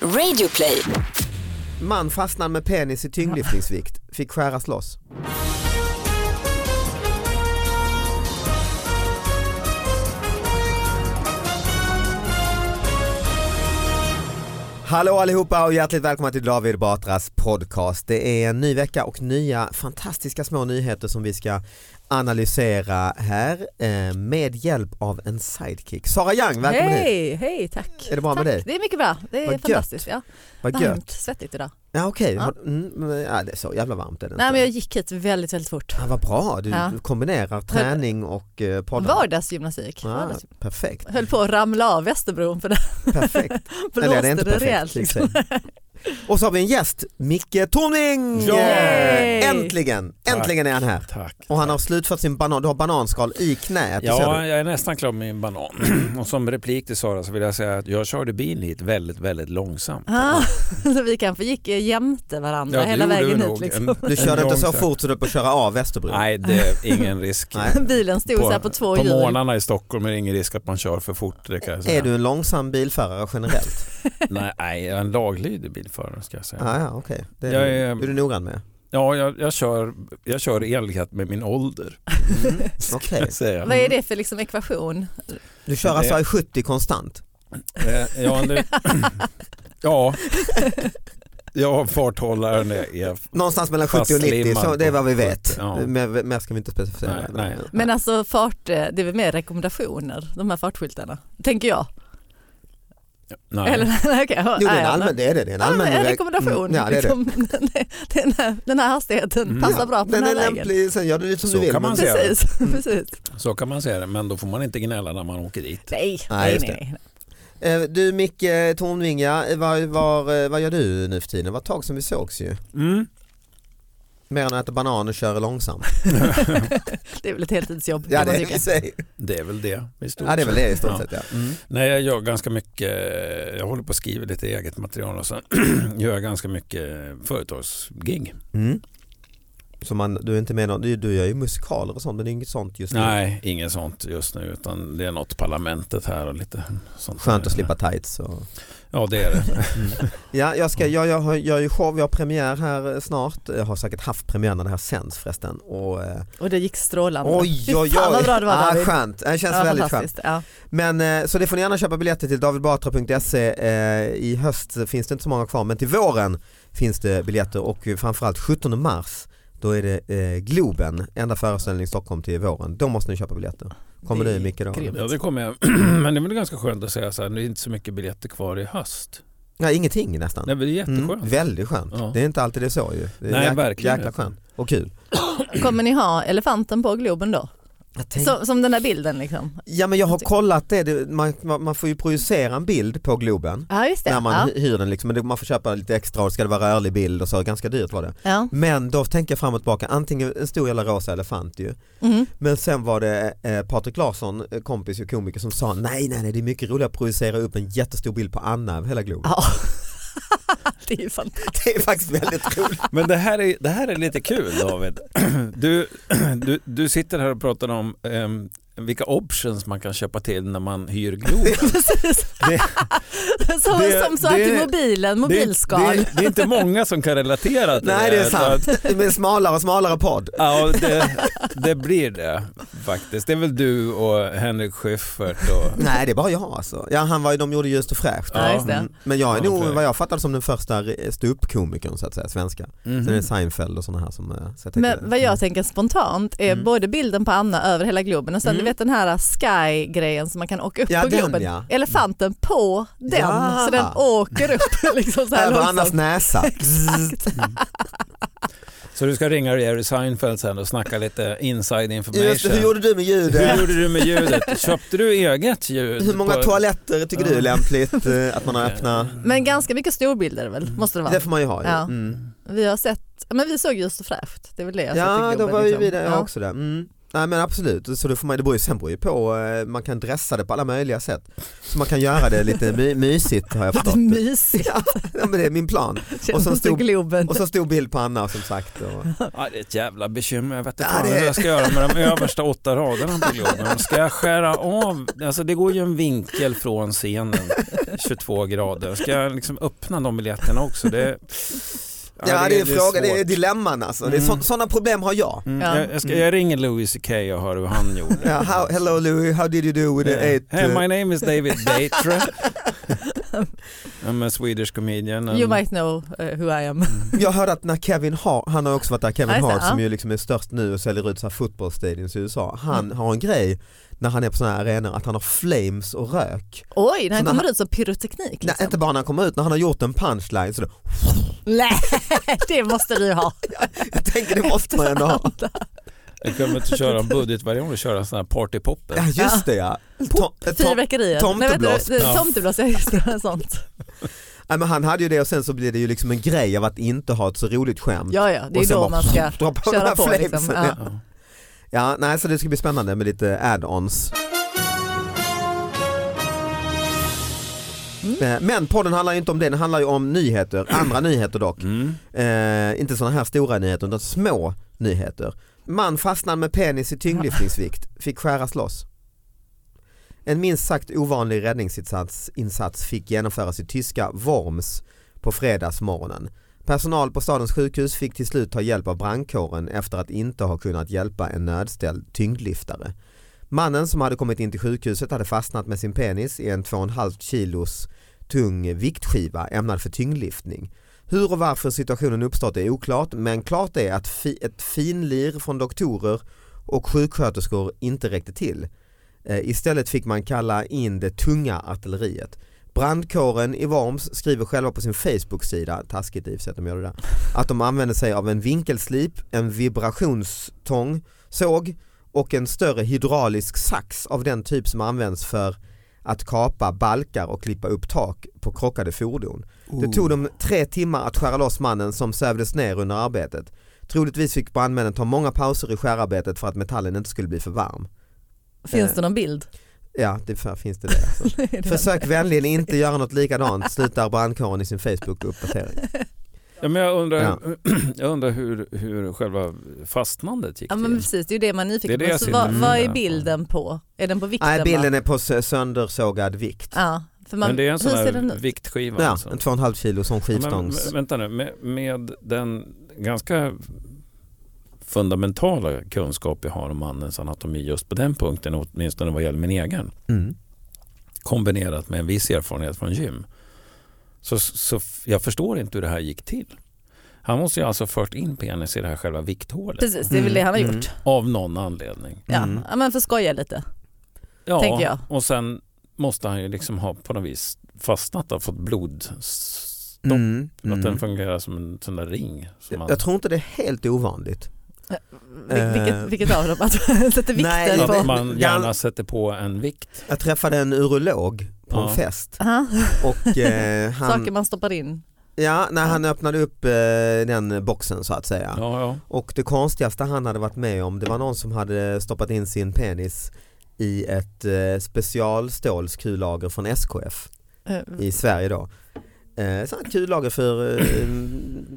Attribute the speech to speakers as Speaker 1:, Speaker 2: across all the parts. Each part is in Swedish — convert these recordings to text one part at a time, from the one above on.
Speaker 1: Radioplay.
Speaker 2: Man fastnade med penis i tyngdlyftningsvikt, fick skäras loss. Hallå allihopa och hjärtligt välkomna till David Batras podcast. Det är en ny vecka och nya fantastiska små nyheter som vi ska analysera här eh, med hjälp av en sidekick. Sara Young, välkommen hit.
Speaker 3: Hej, hej, tack.
Speaker 2: Är det bra med
Speaker 3: tack.
Speaker 2: dig?
Speaker 3: Det är mycket bra, det är
Speaker 2: Vad gött.
Speaker 3: fantastiskt. Ja.
Speaker 2: Vad gött.
Speaker 3: Varmt, svettigt idag.
Speaker 2: Ja okej,
Speaker 3: Ja.
Speaker 2: Har- mm, men, ja, det är så jävla varmt är det
Speaker 3: Nej
Speaker 2: inte.
Speaker 3: men jag gick hit väldigt, väldigt fort.
Speaker 2: Ja, vad bra, du
Speaker 3: Ja.
Speaker 2: kombinerar träning och eh, poddar.
Speaker 3: Vardagsgymnastik.
Speaker 2: Ah,
Speaker 3: Vardagsgym-
Speaker 2: perfekt,
Speaker 3: Höll på att ramla av Västerbron för där
Speaker 2: perfekt.
Speaker 3: blåste
Speaker 2: det är inte perfekt.
Speaker 3: rejält. Liksom.
Speaker 2: liksom. Och så har vi en gäst, Micke Tornving!
Speaker 4: Ja!
Speaker 3: Yay!
Speaker 2: Äntligen, äntligen är han här.
Speaker 4: Tack.
Speaker 2: Och han har slutfört sin banan, du har bananskal i knät. det ser
Speaker 4: Ja,
Speaker 2: du.
Speaker 4: jag är nästan klar med min banan. Och som replik till Sara så vill jag säga att jag körde bil hit väldigt, väldigt långsamt.
Speaker 3: Ah, så vi kanske gick eh, jämte varandra
Speaker 4: det
Speaker 3: hela
Speaker 4: gjorde
Speaker 3: vägen
Speaker 4: vi
Speaker 3: hit.
Speaker 4: nog.
Speaker 3: Liksom.
Speaker 4: En-
Speaker 2: Du körde inte så
Speaker 4: långsamt.
Speaker 2: fort så du höll på att köra av Västerbron.
Speaker 4: Nej, det är ingen risk.
Speaker 2: Nej.
Speaker 3: Bilen stod så här på två
Speaker 4: på
Speaker 3: hjul.
Speaker 4: morgnarna i Stockholm är det ingen risk att man kör för fort. Det kan jag säga.
Speaker 2: Är du en långsam bilförare generellt?
Speaker 4: Nej, nej, jag är en laglydig bilförare ska jag säga.
Speaker 2: ah, ja, okej. Det är,
Speaker 4: Jag
Speaker 2: är
Speaker 4: är-
Speaker 2: du noggrann med.
Speaker 4: Ja, jag, jag, kör, jag kör i enlighet med min ålder.
Speaker 2: Mm.
Speaker 4: kan
Speaker 2: Okej.
Speaker 4: jag säga.
Speaker 3: Vad är det för liksom ekvation?
Speaker 2: Du kör alltså i 70 konstant?
Speaker 4: Eh, Ja, nu, ja. ja farthållaren är
Speaker 2: Någonstans mellan 70 och 90,
Speaker 4: Fastlimmad
Speaker 2: så det är vad vi
Speaker 4: på-
Speaker 2: vet.
Speaker 4: Ja.
Speaker 2: Mer, mer ska vi inte specificera.
Speaker 4: Nej, nej.
Speaker 3: Men alltså fart, eh, det är väl mer rekommendationer, de här fartskyltarna, tänker jag.
Speaker 4: Nej.
Speaker 3: Eller, nej, okej.
Speaker 2: Jo, det är
Speaker 3: Nej,
Speaker 2: en
Speaker 3: ja,
Speaker 2: allmän, det är det. det är en,
Speaker 3: Ja,
Speaker 2: allmän
Speaker 3: men en rekommendation.
Speaker 2: Mm, ja, det är det.
Speaker 3: liksom, den, här, den här hastigheten
Speaker 4: Mm.
Speaker 3: passar
Speaker 2: Ja,
Speaker 3: bra på den
Speaker 2: den
Speaker 3: här
Speaker 2: är
Speaker 3: vägen.
Speaker 2: lämplig, Mm. sen gör du lite som
Speaker 4: Så
Speaker 2: du vill.
Speaker 4: kan man
Speaker 2: men-
Speaker 4: säga.
Speaker 3: Precis, precis.
Speaker 4: Så kan man säga det, men då får man inte gnälla när man åker dit.
Speaker 3: Nej,
Speaker 2: Nej,
Speaker 3: nej,
Speaker 2: just
Speaker 3: nej.
Speaker 2: Eh, Du Micke Tornvinga, eh, vad, vad, eh, vad gör du nu för tiden? Det var ett tag som vi sågs ju. Mer än att äta banan och köra långsamt.
Speaker 3: Det är väl ett heltidsjobb
Speaker 2: Ja
Speaker 3: kan
Speaker 2: det
Speaker 3: man
Speaker 2: är,
Speaker 3: tycka.
Speaker 2: i sig.
Speaker 4: Det är väl det i stort
Speaker 2: ja, det, är väl det i stort
Speaker 4: Ja. Mm.
Speaker 2: sett ja.
Speaker 4: Nej, jag gör ganska mycket, jag håller på att skriva lite eget material och sen gör jag ganska mycket företagsgig.
Speaker 2: Mm. Så man, du, är inte med någon, du, du gör ju musikaler och sånt men det är inget sånt just nu.
Speaker 4: Nej, inget sånt just nu utan det är något parlamentet här och lite sånt.
Speaker 2: Skönt
Speaker 4: där.
Speaker 2: att slippa tights. Och...
Speaker 4: Ja, det är det.
Speaker 2: Ja, jag, ska, jag, jag, har- jag gör ju show, jag har premiär här eh, snart. Jag har säkert haft premiär när det här sänds förresten. Och, eh,
Speaker 3: Och det gick strålande.
Speaker 2: oj,
Speaker 3: Fy
Speaker 2: oj, oj.
Speaker 3: Fan vad bra det var
Speaker 2: ah,
Speaker 3: David.
Speaker 2: skönt, det känns
Speaker 3: Ja,
Speaker 2: väldigt skönt.
Speaker 3: fantastiskt. Ja.
Speaker 2: Men eh, så det får ni gärna köpa biljetter till davidbatra.se. Eh, I höst finns det inte så många kvar men till våren finns det biljetter och eh, framförallt 17 mars då är det eh, Globen, enda föreställning i Stockholm till våren. Då måste ni köpa biljetter. Kommer
Speaker 3: Det
Speaker 2: du
Speaker 3: är
Speaker 2: Micke då?
Speaker 3: grymt.
Speaker 4: Ja, det kommer jag. Men det är väl ganska skönt att säga så här, det är inte så mycket biljetter kvar i höst.
Speaker 2: Ja, ingenting nästan.
Speaker 4: Nej, men det är jätteskönt.
Speaker 2: Mm, väldigt skönt.
Speaker 4: Ja.
Speaker 2: Det är inte alltid det är så ju. Det är
Speaker 4: Nej,
Speaker 2: jäk-
Speaker 4: verkligen
Speaker 2: Jäkla
Speaker 4: inte.
Speaker 2: skönt och kul.
Speaker 3: Kommer ni ha elefanten på Globen då?
Speaker 2: Jag tänk-
Speaker 3: Så, som den där bilden liksom.
Speaker 2: Ja men jag har kollat det, det man, man man får ju projicera en bild på Globen.
Speaker 3: Ja just det.
Speaker 2: När man
Speaker 3: Ja.
Speaker 2: hy- hyr den liksom, men det- man får köpa lite extra och ska det vara rörlig bild och så, ganska dyrt var det.
Speaker 3: Ja.
Speaker 2: Men då tänker jag fram och tillbaka, antingen en stor jävla rosa elefant ju.
Speaker 3: Mm.
Speaker 2: Men sen var det eh, Patrik Larsson, eh, kompis och komiker som sa nej nej nej det är mycket roligare att projicera upp en jättestor bild på Anna över hela Globen.
Speaker 3: ja. det är ju fantastiskt.
Speaker 2: Det är faktiskt väldigt roligt.
Speaker 4: Men det här är, det här är lite kul David. Du, du, du sitter här och pratar om ehm, vilka options man kan köpa till när man hyr Globen.
Speaker 3: Precis.
Speaker 4: Det-
Speaker 3: som
Speaker 4: det-
Speaker 3: som sa till
Speaker 4: det-
Speaker 3: mobilen, mobilskal.
Speaker 4: Det, det, det är inte många som kan relatera till
Speaker 2: nej
Speaker 4: det.
Speaker 2: det är
Speaker 4: utan att-
Speaker 2: sant. Med smalare och smalare podd.
Speaker 4: Ja, det, det blir det faktiskt. Det är väl du och Henrik Schyffert och...
Speaker 2: Nej det är bara jag alltså. Ja, han var ju, de gjorde Ljust och fräscht.
Speaker 3: Ja, just det.
Speaker 2: Mm. Men jag är
Speaker 4: Ja,
Speaker 2: nog
Speaker 4: okej.
Speaker 2: vad jag fattar som den första eh, ståuppkomikern så att säga, svenska. Sen är det Seinfeld och sådana här som... eh, Så jag tänker-
Speaker 3: Mm. Men vad jag tänker spontant är
Speaker 2: Mm.
Speaker 3: både bilden på Anna över hela Globen och sen
Speaker 2: Mm.
Speaker 3: du vet den här sky-grejen som man kan åka upp
Speaker 2: Ja,
Speaker 3: på
Speaker 2: den,
Speaker 3: Globen.
Speaker 2: ja.
Speaker 3: Elefanten på den
Speaker 2: Ja.
Speaker 3: så den åker upp liksom så här
Speaker 2: Över Annas
Speaker 3: långsamt.
Speaker 2: näsa.
Speaker 4: Så du ska ringa Jerry Seinfeld sen och snacka lite inside information.
Speaker 2: Just det, hur gjorde du med ljudet?
Speaker 4: Hur gjorde du med ljudet? Köpte du eget ljud?
Speaker 2: Hur många
Speaker 4: på-
Speaker 2: toaletter tycker du är lämpligt eh, att man har öppna?
Speaker 3: Men ganska mycket storbilder väl, måste det vara.
Speaker 2: Det får man ju ha ju.
Speaker 3: Ja.
Speaker 2: Mm.
Speaker 3: Vi har sett, men vi såg Ljust och fräscht, det är väl det jag har sett i
Speaker 2: Ja, då
Speaker 3: Globen,
Speaker 2: var ju
Speaker 3: liksom.
Speaker 2: vi där, jag
Speaker 3: Ja.
Speaker 2: också där. Mm. Nej men absolut, så det, får man, det beror ju, sen beror ju på, eh, man kan dressa det på alla möjliga sätt. Så man kan göra det lite my, mysigt har jag
Speaker 3: Vad
Speaker 2: förstått.
Speaker 3: mysigt.
Speaker 2: Ja, men det är min plan.
Speaker 3: Känner
Speaker 2: sen
Speaker 3: inte
Speaker 2: stod-
Speaker 3: Globen.
Speaker 2: Och så stor bild på Anna som sagt. Och,
Speaker 4: Ja, det är ett jävla bekymmer. Jag vet inte
Speaker 2: Ja,
Speaker 4: fan
Speaker 2: det är-
Speaker 4: hur jag ska göra med de översta åtta raderna på Globen. Ska jag skära av? Alltså det går ju en vinkel från scenen, 22 grader. Ska jag liksom öppna de biljetterna också? Det,
Speaker 2: ja det är frågan, det är
Speaker 4: svårt.
Speaker 2: dilemman alltså. Det är
Speaker 4: Mm.
Speaker 2: så, sådana problem har jag.
Speaker 4: Mm,
Speaker 3: Ja.
Speaker 4: jag, jag, ska, jag ringer Louis CK och hör hur han gjorde.
Speaker 2: Ja, how, hello Louis, how did you do with the
Speaker 4: Yeah.
Speaker 2: eight?
Speaker 4: Hey,
Speaker 2: eh,
Speaker 4: my name is David Batra. I'm a Swedish comedian. and-
Speaker 3: You might know eh, who I am.
Speaker 2: Jag hörde att när Kevin Hart, han har också varit där,
Speaker 3: Ja,
Speaker 2: Kevin
Speaker 3: just det,
Speaker 2: Hart som
Speaker 3: ja.
Speaker 2: ju liksom är störst nu och säljer ut så här fotbollsstadions i USA. Han
Speaker 3: Mm.
Speaker 2: har en grej när han är på sådana här arenor att han har flames och rök.
Speaker 3: Oj, när han
Speaker 2: Så när
Speaker 3: kommer ut som pyroteknik
Speaker 2: Nej,
Speaker 3: liksom.
Speaker 2: inte bara när han kommer ut, när han har gjort en punchline så då,
Speaker 3: Nej, det måste du ha.
Speaker 2: jag tänker det måste man ändå ha.
Speaker 4: Jag kommer inte att köra en budgetvariant och köra en sån här partypopper.
Speaker 2: Ja just det ja. Tom, eh, tom,
Speaker 3: Fyrverkerier.
Speaker 2: tomteblås.
Speaker 3: Nej, vänta,
Speaker 4: Ja.
Speaker 3: Tomteblås, ja just det. Sånt.
Speaker 2: nej, men han hade ju det och sen så blev det ju liksom en grej av att inte ha ett så roligt skämt.
Speaker 3: Ja, ja, det är
Speaker 2: Och
Speaker 3: ju
Speaker 2: sen
Speaker 3: då
Speaker 2: bara
Speaker 3: man ska
Speaker 2: Dra på de
Speaker 3: köra
Speaker 2: här
Speaker 3: på.
Speaker 2: flamesen.
Speaker 3: Liksom.
Speaker 2: ja.
Speaker 3: Ja.
Speaker 4: Ja.
Speaker 2: ja, nej så det ska bli spännande med lite add-ons. Eh, Men podden handlar ju inte om det, den handlar ju om nyheter, andra nyheter dock.
Speaker 4: Mm.
Speaker 2: Eh, inte sådana här stora nyheter utan små nyheter. Man fastnade med penis i tyngdlyftningsvikt, fick skäras loss. En minst sagt ovanlig räddningsinsats insats fick genomföras i tyska Worms på fredagsmorgonen. Personal på stadens sjukhus fick till slut ta hjälp av brandkåren efter att inte ha kunnat hjälpa en nödställd tyngdlyftare. Mannen som hade kommit in till sjukhuset hade fastnat med sin penis i en 2,5 kilos tung viktskiva ämnad för tyngdlyftning. Hur och varför situationen uppstått är oklart men klart är att fi- ett finlir från doktorer och sjuksköterskor inte räckte till. Eh, Istället fick man kalla in det tunga artilleriet. Brandkåren i Worms skriver själva på sin Facebook-sida, taskigt i och för sig att de gör det där, att de använder sig av en vinkelslip, en vibrationstång, såg och en större hydraulisk sax av den typ som används för att kapa balkar och klippa upp tak på krockade fordon. Det tog dem tre timmar att skära loss mannen som sövdes ner under arbetet. Troligtvis fick brandmännen ta många pauser i skärarbetet för att metallen inte skulle bli för varm.
Speaker 3: Finns
Speaker 2: Eh.
Speaker 3: det någon bild?
Speaker 2: Ja, det för- finns det det. Alltså.
Speaker 3: Nej, det-
Speaker 2: Försök vänligen inte göra något likadant, slutar brandkåren i sin Facebook-uppdatering.
Speaker 4: Ja, men jag undrar,
Speaker 2: Ja.
Speaker 4: jag undrar hur, hur själva fastnandet gick
Speaker 3: Ja men
Speaker 4: till.
Speaker 3: precis, det är ju det man är
Speaker 4: Det
Speaker 3: nyfiken
Speaker 4: är det
Speaker 3: på.
Speaker 4: jag
Speaker 3: Så
Speaker 4: ser
Speaker 3: vad,
Speaker 4: nu.
Speaker 3: vad är
Speaker 4: Mm.
Speaker 3: bilden på? Är den på vikten?
Speaker 2: Nej,
Speaker 3: va?
Speaker 2: bilden är på sö- söndersågad vikt.
Speaker 3: Ja, för man,
Speaker 4: men det är en sån
Speaker 3: hur ser den
Speaker 4: här
Speaker 3: ut?
Speaker 4: viktskiva.
Speaker 2: Ja,
Speaker 4: alltså.
Speaker 2: en 2,5 kilo sån
Speaker 4: Ja, men,
Speaker 2: skivstångs...
Speaker 4: vä- vänta nu, med, med den ganska fundamentala kunskap jag har om mannens anatomi just på den punkten, åtminstone vad gäller min egen,
Speaker 2: Mm.
Speaker 4: kombinerat med en viss erfarenhet från gym. Så, så f- jag förstår inte hur det här gick till. Han måste ju alltså ha fört in penis i det här själva vikthålet
Speaker 3: Precis, det är väl det han har
Speaker 2: Mm.
Speaker 3: gjort.
Speaker 4: av någon anledning.
Speaker 3: Ja,
Speaker 2: Mm.
Speaker 3: ja men för skoja lite.
Speaker 4: Ja,
Speaker 3: tänker jag.
Speaker 4: och sen måste han ju liksom ha på något vis fastnat och fått blodstopp.
Speaker 2: Mm.
Speaker 4: Att
Speaker 2: Mm.
Speaker 4: den fungerar som en sån där ring. Som man...
Speaker 2: Jag tror inte det är helt ovanligt.
Speaker 3: Vil-
Speaker 2: Eh.
Speaker 3: vilket, vilket av dem? Att sätta vikten
Speaker 2: Nej,
Speaker 3: på...
Speaker 2: ja,
Speaker 4: Att
Speaker 2: men-
Speaker 4: man gärna sätter på en vikt.
Speaker 2: Jag träffade en urolog på
Speaker 4: Ja.
Speaker 2: en fest
Speaker 3: Aha,
Speaker 2: och eh, han,
Speaker 3: Saker man stoppar in.
Speaker 2: Ja, när han öppnade upp eh, den boxen så att säga.
Speaker 4: Ja, ja.
Speaker 2: Och det konstigaste han hade varit med om det var någon som hade stoppat in sin penis i ett eh, specialstålskulager från SKF
Speaker 3: Eh,
Speaker 4: Mm.
Speaker 2: i Sverige då. Eh, sån här kullager för eh,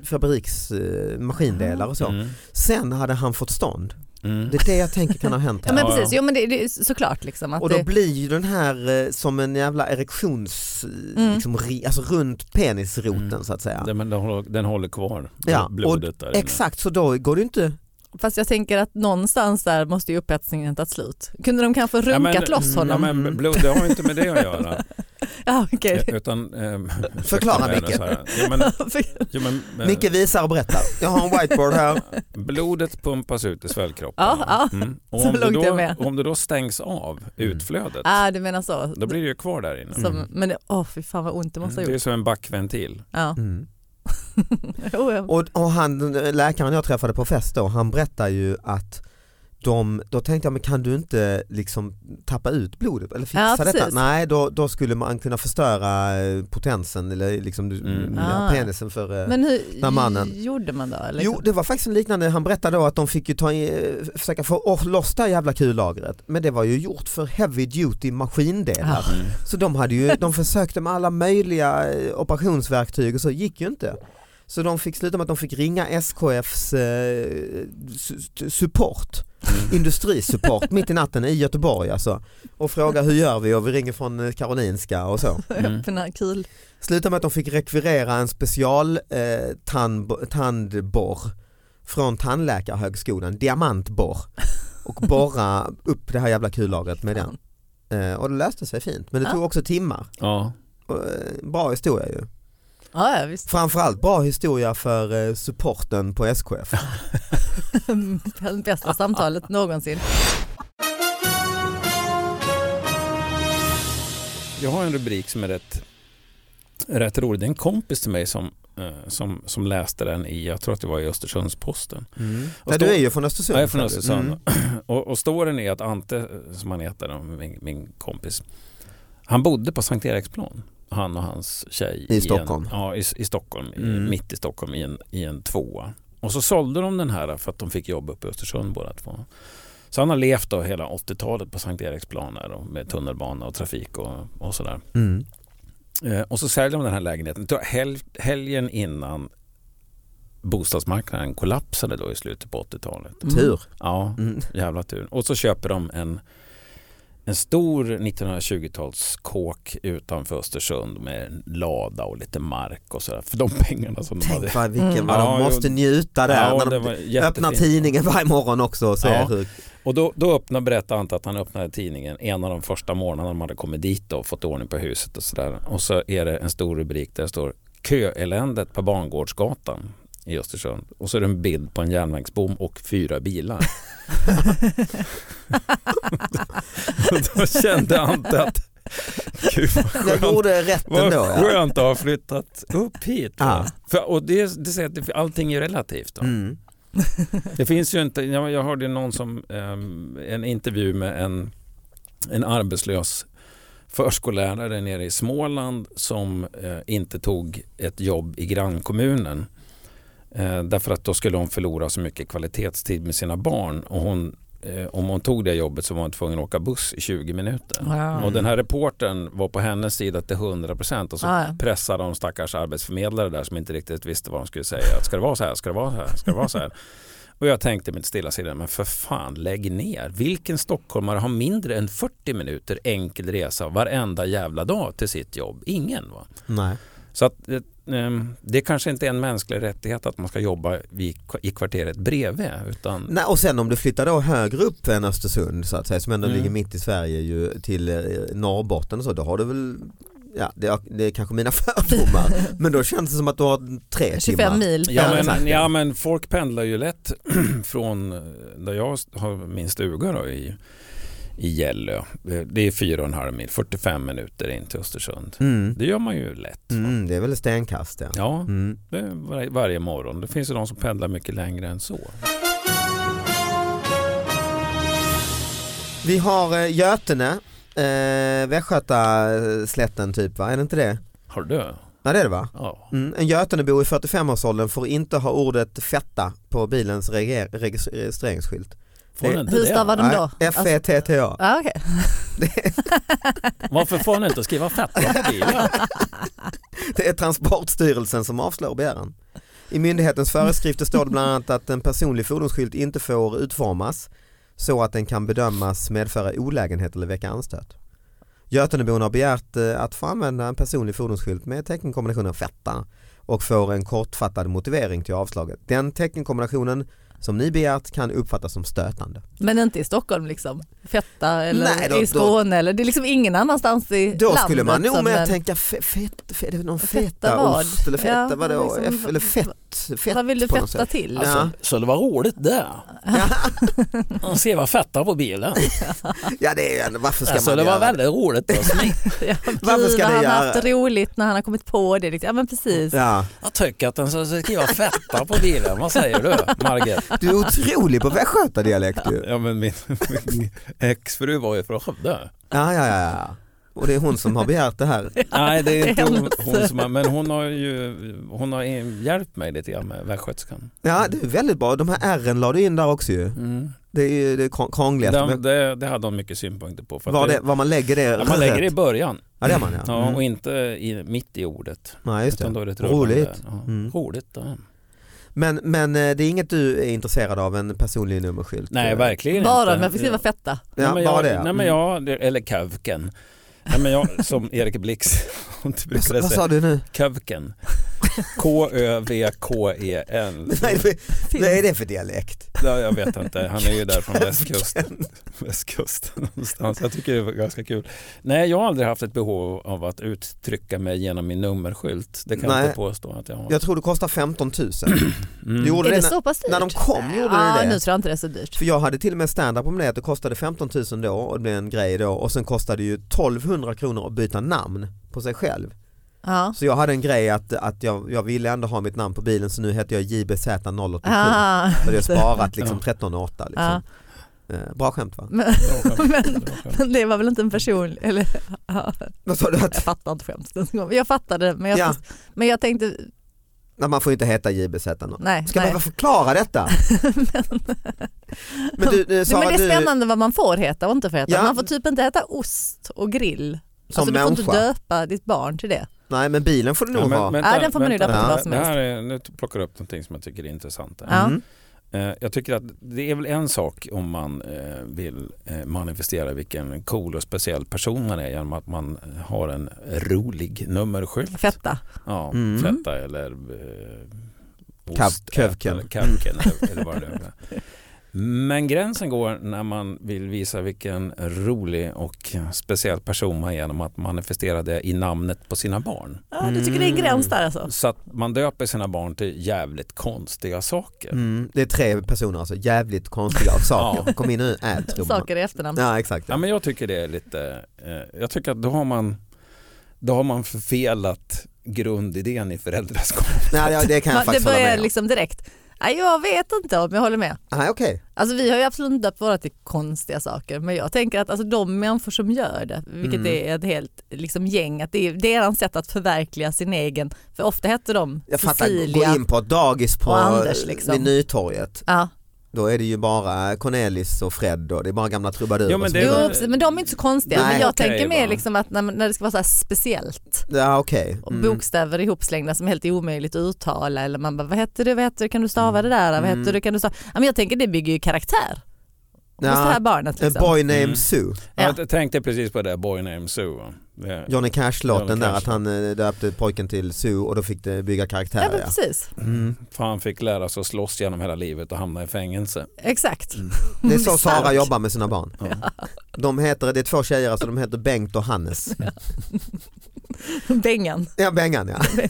Speaker 2: fabriks eh, maskindelar och så.
Speaker 4: Mm.
Speaker 2: Sen hade han fått stånd.
Speaker 4: Mm.
Speaker 2: Det är det jag tänker kan ha hänt
Speaker 3: Ja
Speaker 2: här.
Speaker 4: men-
Speaker 3: men
Speaker 4: Ja,
Speaker 3: precis,
Speaker 4: ja.
Speaker 3: jo men det, det är såklart liksom att
Speaker 2: Och då
Speaker 3: det,
Speaker 2: blir ju den här eh, som en jävla erektions, eh,
Speaker 3: Mm.
Speaker 2: liksom, ri- alltså runt penisroten
Speaker 4: Mm.
Speaker 2: så att säga.
Speaker 4: Den, men den, håller, den håller kvar
Speaker 2: Ja, och
Speaker 4: blodet där inne.
Speaker 2: Exakt, så då går det ju inte
Speaker 3: fast jag tänker att någonstans där måste ju upphetsningen tagit slut. Kunde de kanske
Speaker 4: Ja, men-
Speaker 3: runkat
Speaker 2: Mm.
Speaker 3: loss
Speaker 4: Ja,
Speaker 3: honom?
Speaker 4: men blod, det har ju inte med det att göra.
Speaker 3: Ja, okej.
Speaker 4: Utan, ehm, ursäkta
Speaker 2: Förklara,
Speaker 4: mig nu
Speaker 2: Micke.
Speaker 4: så här. Jo, men, jo, men, eh,
Speaker 2: Micke visar och berättar. Jag har en whiteboard här.
Speaker 4: Blodet pumpas ut i svällkroppen.
Speaker 3: Ja,
Speaker 4: Mm. Och
Speaker 3: Så
Speaker 4: om, det
Speaker 3: långt är jag
Speaker 4: då,
Speaker 3: med.
Speaker 4: om det då stängs av
Speaker 2: Mm.
Speaker 4: utflödet,
Speaker 3: Ah, du menar så.
Speaker 4: då blir Mm. det ju kvar där inne.
Speaker 3: Som, Men åh fy fan vad ont det måste ha
Speaker 4: Det är
Speaker 3: gjort.
Speaker 4: som en backventil.
Speaker 3: Ja.
Speaker 2: Mm.
Speaker 3: Oh, Jo, ja.
Speaker 2: Och, och han, läkaren jag träffade på fest då, han berättar ju att de, då tänkte jag, men kan du inte liksom tappa ut blodet eller fixa
Speaker 3: Ja,
Speaker 2: detta?
Speaker 3: precis.
Speaker 2: Nej, då, då skulle man kunna förstöra eh, potensen eller liksom du-
Speaker 4: Mm.
Speaker 2: ja,
Speaker 3: Ah.
Speaker 2: penisen för eh,
Speaker 3: Men hur
Speaker 2: här mannen.
Speaker 3: gjorde man då? Liksom? Eller?
Speaker 2: Jo det var faktiskt en liknande, han berättade då att de fick ju ta i, försöka få oh, loss det här jävla kullagret men det var ju gjort för heavy duty maskindelar
Speaker 3: Ah.
Speaker 4: Mm.
Speaker 2: så de, hade ju, de försökte med alla möjliga eh, operationsverktyg och så gick ju inte. Så de fick sluta med att de fick ringa SKFs eh, su- support, industrisupport mitt i natten i Göteborg alltså och fråga hur gör vi och vi ringer från eh, Karolinska och så.
Speaker 4: Mm.
Speaker 3: Öppna kul.
Speaker 2: Slutade med att de fick rekvirera en special eh, tandb- tandborr från tandläkarhögskolan, diamantborr och borra upp det här jävla kullagret med den. Eh, och det löste sig fint men det
Speaker 3: Ja.
Speaker 2: tog också timmar.
Speaker 4: Ja.
Speaker 2: Och, eh, Bra historia ju.
Speaker 3: Ja, ja, visst.
Speaker 2: Framförallt bra historia för eh, supporten på SKF.
Speaker 3: Det bästa samtalet någonsin.
Speaker 4: Jag har en rubrik som är rätt, rätt rolig. Det är en kompis till mig som, eh, som, som läste den i, jag tror att det var i Östersunds-Posten.
Speaker 2: Ja, du är ju från Östersund.
Speaker 4: Ja, Mm. jag är från
Speaker 2: sa du.
Speaker 4: Östersund.
Speaker 2: Mm.
Speaker 4: Och, och storyn är att Ante, som han heter, då, min, min kompis, han bodde på Sankt Eriksplan. Han och hans tjej.
Speaker 2: I Stockholm.
Speaker 4: En, ja, i, i Stockholm. i-
Speaker 2: Mm.
Speaker 4: Mitt i Stockholm i en, i en tvåa. Och så sålde de den här för att de fick jobb uppe i Östersund båda två. Så han har levt då hela 80-talet på Sankt Eriksplan här då, med tunnelbana och trafik och, och sådär.
Speaker 2: Mm.
Speaker 4: Eh, Och så säljer de den här lägenheten. Då hel- Helgen innan bostadsmarknaden kollapsade då i slutet på 80-talet.
Speaker 2: Mm. Tur.
Speaker 4: Ja,
Speaker 2: Mm.
Speaker 4: jävla tur. Och så köper de en, en stor 1920-talskåk utanför Östersund med en lada och lite mark och sådär. För de pengarna som de hade.
Speaker 2: Tänk vad, vilken,
Speaker 3: Mm.
Speaker 2: vad de
Speaker 4: Ja,
Speaker 2: måste
Speaker 4: jo.
Speaker 2: njuta där
Speaker 4: Ja,
Speaker 2: när
Speaker 4: det
Speaker 2: de
Speaker 4: var jättefint.
Speaker 2: öppnar tidningen varje morgon också och ser
Speaker 4: Ja.
Speaker 2: hur
Speaker 4: Och då, då öppnar, berättar Ante att han öppnade tidningen en av de första morgnarna de hade kommit dit då, och fått ordning på huset och sådär. Och så är det en stor rubrik där det står Köeländet på Bangårdsgatan i Östersund. Och så är det en bild på en järnvägsbom och fyra bilar. och då kände Ante att Gud vad
Speaker 2: jag
Speaker 4: skönt,
Speaker 2: gjorde rätt
Speaker 4: vad
Speaker 2: ändå. Ja.
Speaker 4: skönt att ha flyttat upp hit. va?
Speaker 2: Ja.
Speaker 4: För, och det, det säger att det- allting är relativt. Då.
Speaker 2: Mm.
Speaker 4: Det finns ju inte, jag, jag hörde någon som, ehm, en intervju med en, en arbetslös förskollärare nere i Småland som eh, inte tog ett jobb i grannkommunen. Eh, därför att då skulle hon förlora så mycket kvalitetstid med sina barn och hon, eh, om hon tog det jobbet så var hon tvungen att åka buss i 20 minuter.
Speaker 3: Ja.
Speaker 4: Och den här reportern var på hennes sida till 100% och så
Speaker 3: Ja, ja.
Speaker 4: pressa de stackars arbetsförmedlare där som inte riktigt visste vad de skulle säga. Att, ska det vara så här? Ska det vara så här? Ska det vara så här? Och jag tänkte mitt stilla sinne, men för fan lägg ner. Vilken stockholmare har mindre än 40 minuter enkel resa varenda jävla dag till sitt jobb? Ingen va?
Speaker 2: Nej.
Speaker 4: Så att eh, ehm, det kanske inte är en mänsklig rättighet att man ska jobba i, i kvarteret bredvid. Utan,
Speaker 2: Nej, och sen om du flyttar då högre upp än Östersund så att säga, som ändå
Speaker 4: Mm.
Speaker 2: ligger mitt i Sverige ju, till eh, Norrbotten och så, då har du väl, ja det, det är kanske mina fördomar, men då känns det som att du har tre
Speaker 3: 25
Speaker 2: timmar.
Speaker 3: mil.
Speaker 4: Ja
Speaker 2: exakt,
Speaker 4: men,
Speaker 2: ja.
Speaker 4: ja men folk pendlar ju lätt från där jag har min stuga då i, i Gällö. Det är fyra och en halv mil, 45 minuter in till Östersund.
Speaker 2: Mm.
Speaker 4: Det gör man ju lätt.
Speaker 2: Mm, det är väl ett stenkast ja.
Speaker 4: Ja,
Speaker 2: Mm.
Speaker 4: det är var, varje morgon. Det finns ju de som pendlar mycket längre än så.
Speaker 2: Vi har eh, Götene, eh, Västgötaslätten typ va, är det inte det?
Speaker 4: Har du?
Speaker 2: Ja det är det va?
Speaker 4: Ja.
Speaker 2: Mm. En Götenebo i 45-årsåldern får inte ha ordet fetta på bilens reger- regis- registreringsskylt.
Speaker 4: Får
Speaker 2: Det-
Speaker 4: ni inte
Speaker 3: Hur
Speaker 4: det?
Speaker 3: stavar de då?
Speaker 2: Nej, E F-E-T-T-A.
Speaker 3: Ja, okej.
Speaker 4: Varför får ni inte skriva fetta på bilen?
Speaker 2: Det är Transportstyrelsen som avslår begäran. I myndighetens föreskrifter står det bland annat att en personlig fordonsskylt inte får utformas så att den kan bedömas medföra olägenhet eller väcka anstöt. Götenebon har begärt eh, att få använda en personlig fordonsskylt med teckenkombinationen fetta och får en kortfattad motivering till avslaget. Den teckenkombinationen som ni begärt kan uppfattas som stötande.
Speaker 3: Men inte i Stockholm liksom? Fetta eller
Speaker 2: Nej, då-
Speaker 3: i Skåne eller det är liksom ingen annanstans i
Speaker 2: Då
Speaker 3: landet.
Speaker 2: skulle man nog
Speaker 3: som
Speaker 2: mer
Speaker 3: en-
Speaker 2: tänka fe, fet, fe, är det någon
Speaker 3: Feta
Speaker 2: feta,
Speaker 3: vad?
Speaker 2: ost eller feta
Speaker 3: Ja,
Speaker 2: vadå?
Speaker 3: liksom-
Speaker 2: F, eller fett fett, fett
Speaker 3: Vad vill du
Speaker 2: på något
Speaker 3: fetta
Speaker 2: sätt.
Speaker 3: till?
Speaker 2: Ja.
Speaker 1: Alltså, så det var roligt det.
Speaker 2: Ja,
Speaker 1: Man ser vad fettar på bilen.
Speaker 2: ja det är ju ändå, varför ska
Speaker 1: Alltså,
Speaker 2: man
Speaker 1: det var
Speaker 2: göra
Speaker 1: väldigt roligt. Alltså.
Speaker 3: Ja,
Speaker 2: Varför
Speaker 3: gud,
Speaker 2: ska
Speaker 3: vad
Speaker 2: det
Speaker 3: han har
Speaker 2: göra-
Speaker 3: haft roligt när han har kommit på det. liksom. Ja men precis.
Speaker 2: Ja.
Speaker 1: Jag tycker att den ska skriva fettar på bilen. Vad säger du Margit?
Speaker 2: Du är otrolig på västgötadialekt ju.
Speaker 4: Ja, men min, min exfru var ju från Skövde.
Speaker 2: Ja, ja, ja, ja. Och det är hon som har begärt det här.
Speaker 4: Nej, det är
Speaker 3: det
Speaker 4: inte
Speaker 3: är
Speaker 4: hon,
Speaker 3: hennes.
Speaker 4: hon som har, men hon har ju hon har hjälpt mig lite grann med västgötskan.
Speaker 2: Ja, det är väldigt bra. De här ärren la du in där också ju.
Speaker 4: Mm.
Speaker 2: Det är ju det krång- krångligaste.
Speaker 4: Det,
Speaker 2: Men
Speaker 4: det, det hade hon mycket synpunkter på. För att
Speaker 2: Var, det, var man lägger det
Speaker 4: ja, man lägger det i
Speaker 2: rätt.
Speaker 4: början
Speaker 2: Ja, det gör man ja.
Speaker 4: ja, och
Speaker 2: Mm.
Speaker 4: inte i, mitt i ordet.
Speaker 2: Nej, just
Speaker 4: Utan då
Speaker 2: det.
Speaker 4: är det ett rullande.
Speaker 2: Roligt.
Speaker 4: Ja.
Speaker 2: Mm.
Speaker 4: Roligt. Ja.
Speaker 2: Men, men eh, det är inget du är intresserad av, en personlig nummerskylt? eh?
Speaker 4: Nej, verkligen
Speaker 3: Bara
Speaker 4: inte.
Speaker 3: om jag får skriva fetta.
Speaker 2: Ja,
Speaker 4: nej,
Speaker 2: bara
Speaker 4: men jag,
Speaker 2: det. Mm.
Speaker 4: Nej, men jag, det- eller Kövken. Nej, men jag, som Erik Blix inte
Speaker 2: Vad,
Speaker 4: brukade
Speaker 2: vad
Speaker 4: säga.
Speaker 2: sa du nu?
Speaker 4: Kövken. K-Ö-V-K-E-N.
Speaker 2: Nej, det- vad är det för dialekt?
Speaker 4: E Ja, jag vet inte, han är ju där från västkusten. västkusten någonstans. Jag tycker det var ganska kul. Nej, jag har aldrig haft ett behov av att uttrycka mig genom min nummerskylt. Det kan
Speaker 2: Nej.
Speaker 4: jag inte påstå att jag har.
Speaker 2: Jag tror det kostar 15 000.
Speaker 4: Mm.
Speaker 2: Du gjorde
Speaker 3: Är
Speaker 2: det,
Speaker 3: det
Speaker 2: när,
Speaker 3: så pass dyrt?
Speaker 2: när de kom gjorde
Speaker 3: ja,
Speaker 2: du det?
Speaker 3: nu tror jag inte det är så dyrt.
Speaker 2: För jag hade till och med stand-up om det att det kostade 15 000 då och det blev en grej då och sen kostade det ju 1200 kronor att byta namn på sig själv.
Speaker 3: Ja.
Speaker 2: Så jag hade en grej att, att jag, jag ville ändå ha mitt namn på bilen så nu heter jag JBZ087.
Speaker 3: Ah.
Speaker 2: För det har sparat liksom
Speaker 4: Ja.
Speaker 2: 1308 liksom. Eh, Bra skämt va?
Speaker 3: Men,
Speaker 4: Bra skämt,
Speaker 3: Men-
Speaker 4: bra skämt.
Speaker 3: det var väl inte en personlig... Eller, ja,
Speaker 2: Vad sa du?
Speaker 3: jag
Speaker 2: Att,
Speaker 3: fattar inte skämtet. Jag fattade men jag,
Speaker 2: Ja.
Speaker 3: men jag tänkte...
Speaker 2: nej, man får inte heta JBZ0.
Speaker 3: Nej.
Speaker 2: Ska jag
Speaker 3: nej.
Speaker 2: behöva förklara detta? men du, eh,
Speaker 3: Nej,
Speaker 2: Sara,
Speaker 3: men det är
Speaker 2: du
Speaker 3: spännande vad man får heta och inte får heta.
Speaker 2: Ja.
Speaker 3: Man får typ inte heta ost och grill.
Speaker 2: som
Speaker 3: alltså, du får inte
Speaker 2: människa.
Speaker 3: döpa ditt barn till det.
Speaker 2: Nej men bilen får du nog
Speaker 4: Ja, men-
Speaker 2: ha.
Speaker 4: vänta,
Speaker 3: Ja, den får man ju
Speaker 4: vänta.
Speaker 2: döpa till
Speaker 3: vad som
Speaker 4: Det här är, nu plockar du upp någonting som jag tycker är intressant. här.
Speaker 3: Ja.
Speaker 2: Mm.
Speaker 4: Eh, Jag tycker att det är väl en sak om man eh, vill eh, manifestera vilken cool och speciell person man är genom att man eh, har en rolig nummerskylt.
Speaker 3: Fetta.
Speaker 4: Ja,
Speaker 2: Mm.
Speaker 4: feta eller eh,
Speaker 2: Kav-
Speaker 4: ost-
Speaker 2: kövken.
Speaker 4: eller kövken eller, eller vad det är. Men gränsen går när man vill visa vilken rolig och speciell person man är genom att manifestera det i namnet på sina barn.
Speaker 3: Ja, du tycker det
Speaker 2: Mm.
Speaker 3: är en gräns där alltså?
Speaker 4: Så att man döper sina barn till jävligt konstiga saker.
Speaker 2: Mm, det är tre personer alltså, jävligt konstiga saker. Kom in nu, ät gumman.
Speaker 3: Saker i efternamn.
Speaker 2: Ja exakt.
Speaker 4: Ja,
Speaker 2: Ja.
Speaker 4: men jag tycker det är lite, eh, jag tycker att då har man, då har man förfelat grundidén i föräldraskap.
Speaker 2: Nej, ja, det kan jag
Speaker 3: Man, det
Speaker 2: faktiskt hålla
Speaker 3: börjar
Speaker 2: med om.
Speaker 3: liksom direkt. Nej, jag vet inte om jag håller med.
Speaker 2: Nej, okej.
Speaker 3: Alltså, vi har ju absolut inte döpt våra till konstiga saker men jag tänker att alltså, de människor som gör det, vilket
Speaker 2: Mm.
Speaker 3: är ett helt liksom, gäng, att det är deras sätt att förverkliga sin egen, för ofta hette de
Speaker 2: Jag fattar, gå
Speaker 3: Cecilia.
Speaker 2: in på ett dagis på,
Speaker 3: och Anders, liksom.
Speaker 2: vid Nytorget.
Speaker 3: Ja.
Speaker 2: Då är det ju bara Cornelis och Fred och det är bara gamla trubadurer.
Speaker 4: Jo, men
Speaker 2: som-
Speaker 4: Det
Speaker 3: Jo,
Speaker 4: var-
Speaker 3: precis, men de är inte så konstiga.
Speaker 2: Nej,
Speaker 3: men jag
Speaker 4: okej,
Speaker 3: tänker mer
Speaker 4: bara.
Speaker 3: liksom att när, när det ska vara så här speciellt
Speaker 2: Ja okej.
Speaker 3: och
Speaker 2: Mm.
Speaker 3: bokstäver ihopslängda som är helt omöjligt att uttala eller man bara vad heter det, vad heter det, kan du stava det där, vad
Speaker 2: Mm.
Speaker 3: heter det, kan du stava? Ja, men jag tänker det bygger ju karaktär hos
Speaker 2: Ja,
Speaker 3: det här barnet.
Speaker 2: A
Speaker 3: Liksom.
Speaker 2: boy named
Speaker 4: Mm.
Speaker 2: Sue,
Speaker 3: Ja.
Speaker 4: Jag tänkte precis på det där Boy Named Sue. Eh, va? Det-
Speaker 2: Johnny Cash-låten
Speaker 4: Johnny
Speaker 2: där
Speaker 4: Cash.
Speaker 2: att han eh, döpte pojken till Sue och då fick det bygga
Speaker 3: Ja,
Speaker 2: karaktärer.
Speaker 3: men
Speaker 2: Ja,
Speaker 3: precis,
Speaker 2: mm.
Speaker 4: För han fick lära sig att slåss genom hela livet och hamna i fängelse.
Speaker 3: exakt.
Speaker 2: Det är så Sara
Speaker 3: Stark.
Speaker 2: jobbar med sina barn.
Speaker 4: Ja.
Speaker 2: De heter, det är två tjejer alltså, de heter Bengt och Hannes.
Speaker 3: Bengan.
Speaker 2: Ja, Bengan ja.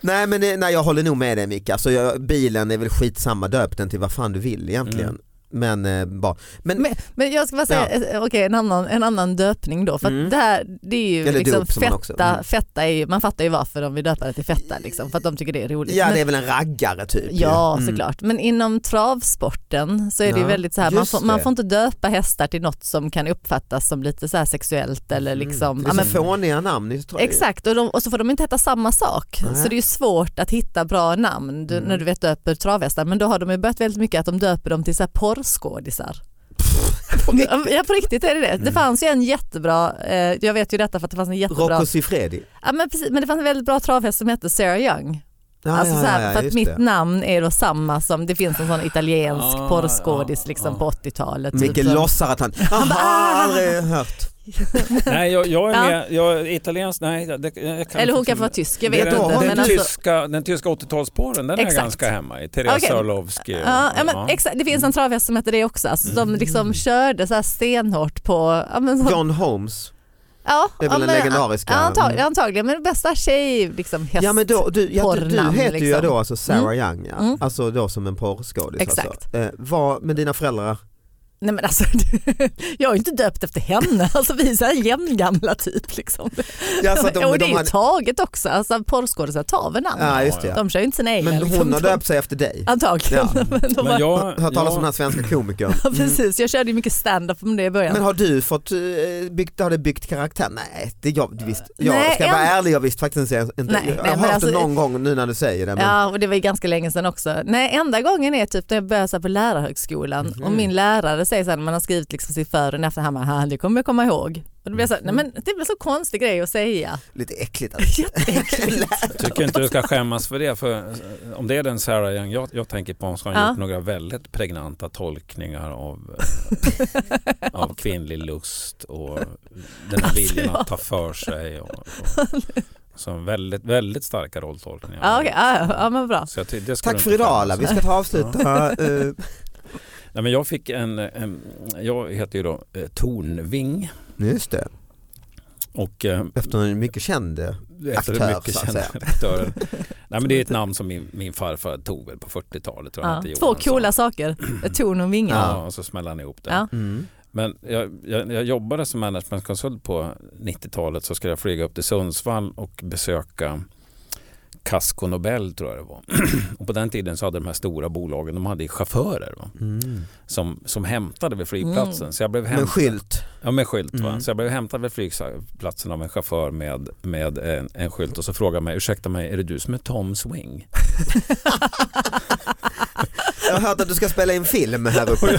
Speaker 2: nej men eh, nej, jag håller nog med dig Micke, alltså, jag, bilen är väl skitsamma, döp den till vad fan du vill egentligen.
Speaker 4: Mm.
Speaker 2: Men eh, bara, men,
Speaker 3: Men, men jag ska bara säga, eh, okej en, annan, en annan döpning då. För att
Speaker 2: Mm.
Speaker 3: det här, det är ju
Speaker 2: Eller
Speaker 3: liksom
Speaker 2: dop som man också-
Speaker 3: fetta,
Speaker 2: mm.
Speaker 3: fetta är ju, man fattar ju varför de vill döpa det till fetta liksom, för att de tycker det är roligt.
Speaker 2: ja
Speaker 3: Men-
Speaker 2: det är väl en raggare typ.
Speaker 3: Ja
Speaker 2: Mm.
Speaker 3: såklart, men inom travsporten så är det ju
Speaker 2: Ja,
Speaker 3: väldigt så här, man
Speaker 2: just
Speaker 3: får, man
Speaker 2: det.
Speaker 3: får inte döpa hästar till något som kan uppfattas som lite så här sexuellt eller liksom,
Speaker 2: Mm.
Speaker 3: ja,
Speaker 2: Det är
Speaker 3: men,
Speaker 2: så fåniga namn. det tror jag.
Speaker 3: exakt och, de, och så får de inte heta samma sak.
Speaker 2: Nej.
Speaker 3: Så det är ju svårt att hitta bra namn du,
Speaker 2: Mm.
Speaker 3: när du vet döper travhästar, men då har de ju börjat väldigt mycket att de döper dem till så här porrskådisar. Ja, men- ja på riktigt är det det. Det fanns ju en jättebra, eh, jag vet ju detta för att det fanns en jättebra,
Speaker 2: Rocco Siffredi.
Speaker 3: ja, men, precis, men det fanns en väldigt bra travhäst som hette Sarah Young
Speaker 2: Ja,
Speaker 3: alltså
Speaker 2: ja,
Speaker 3: så här,
Speaker 2: ja, ja,
Speaker 3: för att
Speaker 2: just
Speaker 3: mitt
Speaker 2: det.
Speaker 3: namn är då samma som, det finns en sån italiensk
Speaker 4: Ah,
Speaker 3: porrskådis
Speaker 4: ah,
Speaker 3: liksom
Speaker 4: ah.
Speaker 3: på 80-talet.
Speaker 2: Micke
Speaker 3: som-
Speaker 2: låtsar att han, aha,
Speaker 3: Typ. ah.
Speaker 2: aldrig hört.
Speaker 4: Nej, jag, jag är
Speaker 3: Ja.
Speaker 4: med. Jag, är italiensk, nej. Det, det- jag kan
Speaker 3: Eller hon kan
Speaker 4: faktiskt-
Speaker 3: få vara tysk, jag
Speaker 4: Det är
Speaker 3: vet
Speaker 4: den,
Speaker 3: inte.
Speaker 2: har
Speaker 4: Den,
Speaker 3: Men alltså,
Speaker 4: tyska, den tyska 80-talsporren, den är
Speaker 3: Exakt.
Speaker 4: ganska hemma i. Therese
Speaker 3: Okej.
Speaker 4: Orlovsky.
Speaker 3: ja, ja, men
Speaker 4: Ja.
Speaker 3: Exakt, det
Speaker 2: Mm.
Speaker 3: finns en travhäst som heter det också, alltså, som liksom körde så här stenhårt på, ja, men, så,
Speaker 2: John Holmes.
Speaker 3: Ja,
Speaker 2: Det är väl
Speaker 3: ja,
Speaker 2: den
Speaker 3: men-
Speaker 2: legendariska- Mm.
Speaker 3: ja, Antagligen, antagligen, men bästa tjej, liksom häst.
Speaker 2: Ja men då, du, ja, du, du
Speaker 3: porrnamn,
Speaker 2: heter ju
Speaker 3: liksom.
Speaker 2: då alltså Sarah Young ja.
Speaker 3: Mm.
Speaker 2: Alltså då som en porrskådis.
Speaker 3: Exakt.
Speaker 2: Alltså. Eh, vad, men dina föräldrar,
Speaker 3: Nej men alltså, jag är ju inte döpt efter henne, alltså vi är så här jämngamla typ. Liksom.
Speaker 2: Ja, så att Alltså, de-
Speaker 3: och det
Speaker 2: de
Speaker 3: är ju
Speaker 2: hade-
Speaker 3: taget också, alltså porrskådisar tar väl namn?
Speaker 2: ja just det. Ja.
Speaker 3: De kör ju inte sina egna.
Speaker 2: Men
Speaker 3: liksom.
Speaker 2: hon har
Speaker 3: De-
Speaker 2: döpt sig efter dig.
Speaker 3: Antagligen.
Speaker 2: Ja.
Speaker 3: Men de
Speaker 4: Men
Speaker 3: bara,
Speaker 4: jag,
Speaker 2: Hört talas om den
Speaker 4: jag,
Speaker 2: här svenska komikern.
Speaker 3: ja, precis, jag körde ju mycket stand-up om det i början.
Speaker 2: Men har du fått, eh, byggt, har det byggt karaktär? Nej, det jag, visst, jag
Speaker 3: Nej,
Speaker 2: ska vara
Speaker 3: än-
Speaker 2: ärlig, jag visste faktiskt inte. inte.
Speaker 3: Nej,
Speaker 2: jag
Speaker 3: nej,
Speaker 2: har
Speaker 3: men
Speaker 2: hört
Speaker 3: alltså-
Speaker 2: det någon gång nu när du säger det. Men,
Speaker 3: Ja och det var ju ganska länge sedan också. Nej enda gången är typ när jag började så här på lärarhögskolan och min lärare säger så här när man har skrivit liksom sitt för och efter han bara, "Ha, det kommer jag komma ihåg. Och det blir så här, nej men det blir så konstig grej att säga.
Speaker 2: Lite äckligt. Alltså.
Speaker 4: tycker inte du ska skämmas för det. För eh, om det är den Sarah Young jag, jag tänker på så har han
Speaker 3: Ja.
Speaker 4: gjort några väldigt pregnanta tolkningar av, eh, av kvinnlig lust och den här
Speaker 3: Alltså,
Speaker 4: viljan att ta för sig. Och, och, så väldigt, väldigt starka rolltolkningar.
Speaker 3: Ja, okej, ja, ja, ja men bra.
Speaker 4: Så jag ty- det ska du
Speaker 2: Tack
Speaker 4: inte
Speaker 2: för idag
Speaker 4: skämmas
Speaker 2: alla,
Speaker 4: för.
Speaker 2: vi ska ta avsluta. eh,
Speaker 4: Nej, men jag fick en, en, jag heter ju då eh, Tornving
Speaker 2: just det,
Speaker 4: och eh,
Speaker 2: efter en mycket känd. eh, Aktör,
Speaker 4: efter den
Speaker 2: så
Speaker 4: mycket
Speaker 2: att
Speaker 4: kända
Speaker 2: säga.
Speaker 4: aktören. Nej men det är ett namn som min, min farfar tog väl på 40-talet. tror jag
Speaker 3: Ja.
Speaker 4: han hette,
Speaker 3: Två
Speaker 4: Johansson.
Speaker 3: coola saker, Ett torn och vingar.
Speaker 4: Ja, och så smällde han ihop det.
Speaker 3: Ja.
Speaker 2: Mm.
Speaker 4: Men jag, jag, jag jobbade som managementkonsult på 90-talet så skulle jag flyga upp till Sundsvall och besöka Casco Nobel tror jag det var. och på den tiden så hade de här stora bolagen, de hade ju chaufförer va?
Speaker 2: Mm.
Speaker 4: Som, som hämtade vid flygplatsen. Så jag blev
Speaker 2: Men
Speaker 4: hämtad.
Speaker 2: skylt.
Speaker 4: Ja, med skylt.
Speaker 2: Mm.
Speaker 4: Va? Så jag blev hämtad vid flygplatsen av en chaufför med, med en, en skylt och så frågade mig, ursäkta mig, är det du som är Tom Swing?
Speaker 2: Jag har hört att du ska spela in film här uppe.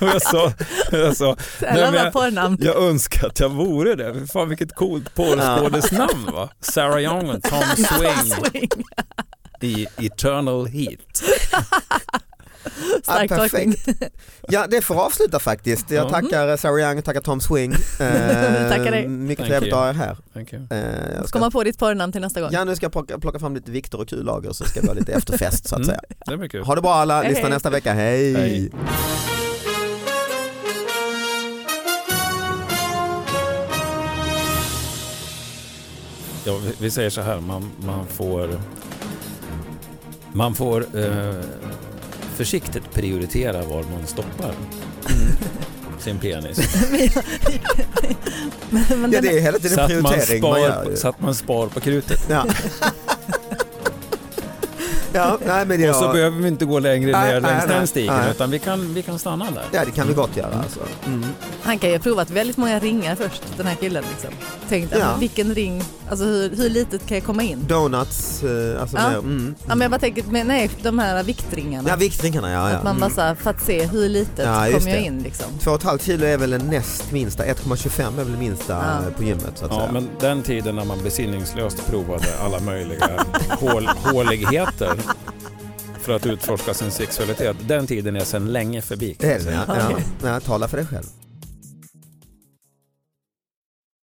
Speaker 4: och jag sa, jag sa
Speaker 3: Eller
Speaker 4: men
Speaker 3: bara
Speaker 4: jag-
Speaker 3: porrnamn.
Speaker 4: jag önskar att jag vore det. Fy Fan vilket coolt porrskådisnamn va? Sarah Young och Tom Swing
Speaker 3: Swing.
Speaker 4: i Eternal Heat.
Speaker 2: Ja,
Speaker 3: Stark tolkning.
Speaker 2: perfekt. Ja, det får avsluta faktiskt. Jag
Speaker 4: Ja.
Speaker 2: tackar eh, Sarah Young, tackar Tom Swing. Eh,
Speaker 3: Tackar dig.
Speaker 2: Mycket
Speaker 4: Thank
Speaker 2: trevligt att
Speaker 4: you.
Speaker 2: ha er här.
Speaker 4: Thank you.
Speaker 2: Eh, jag
Speaker 3: Ska...
Speaker 2: ska-
Speaker 3: Komma på ditt porrnamn till nästa gång.
Speaker 2: Ja nu ska jag plocka, plocka fram lite Viktor och Q-lager så ska vi ha lite efterfest så att
Speaker 4: Mm.
Speaker 2: säga.
Speaker 4: Det blir kul.
Speaker 2: Ha det bra alla,
Speaker 3: Hej,
Speaker 2: lyssna
Speaker 3: hej.
Speaker 2: nästa vecka, hej!
Speaker 4: Hej. Ja, vi- vi säger så här, man, man får, man får eh, försiktigt prioritera var man stoppar sin penis.
Speaker 3: Men, men
Speaker 2: Ja
Speaker 3: den,
Speaker 2: det är hela tiden
Speaker 4: Så att, man
Speaker 2: prioritering man
Speaker 4: spar,
Speaker 2: gör ju.
Speaker 4: så att man spar på krutet.
Speaker 2: Ja. ja, nej men
Speaker 4: Och så
Speaker 2: jag,
Speaker 4: behöver vi inte gå längre
Speaker 2: Nej,
Speaker 4: ner
Speaker 2: nej,
Speaker 4: längs den
Speaker 2: nej, nej.
Speaker 4: stigen utan vi kan, vi kan stanna där.
Speaker 2: ja det kan vi gott göra alltså. Mm.
Speaker 3: Han kan ju ha provat väldigt många ringar först, den här killen. Liksom. Tänkt,
Speaker 2: Ja.
Speaker 3: alltså, vilken ring, alltså, hur, hur litet kan jag komma in?
Speaker 2: Donuts, eh, alltså
Speaker 3: Ja.
Speaker 2: mer, mm.
Speaker 3: Ja, men jag bara tänker, men nej, de här viktringarna.
Speaker 2: Ja viktringarna ja.
Speaker 3: Att
Speaker 2: ja.
Speaker 3: man bara
Speaker 2: Mm.
Speaker 3: så här, för att se hur litet
Speaker 2: Ja, just
Speaker 3: kommer jag
Speaker 2: det.
Speaker 3: in liksom.
Speaker 2: Två och ett halvt kilo är väl den näst minsta, 1,25 är väl det minsta
Speaker 3: Ja.
Speaker 2: eh, på gymmet så att
Speaker 4: Ja,
Speaker 2: säga.
Speaker 4: men den tiden när man besinningslöst provade alla möjliga hål, håligheter för att utforska sin sexualitet, den tiden är sedan länge förbi.
Speaker 2: Det är det ja. ja.
Speaker 3: Okej.
Speaker 2: ja. Tala för dig själv.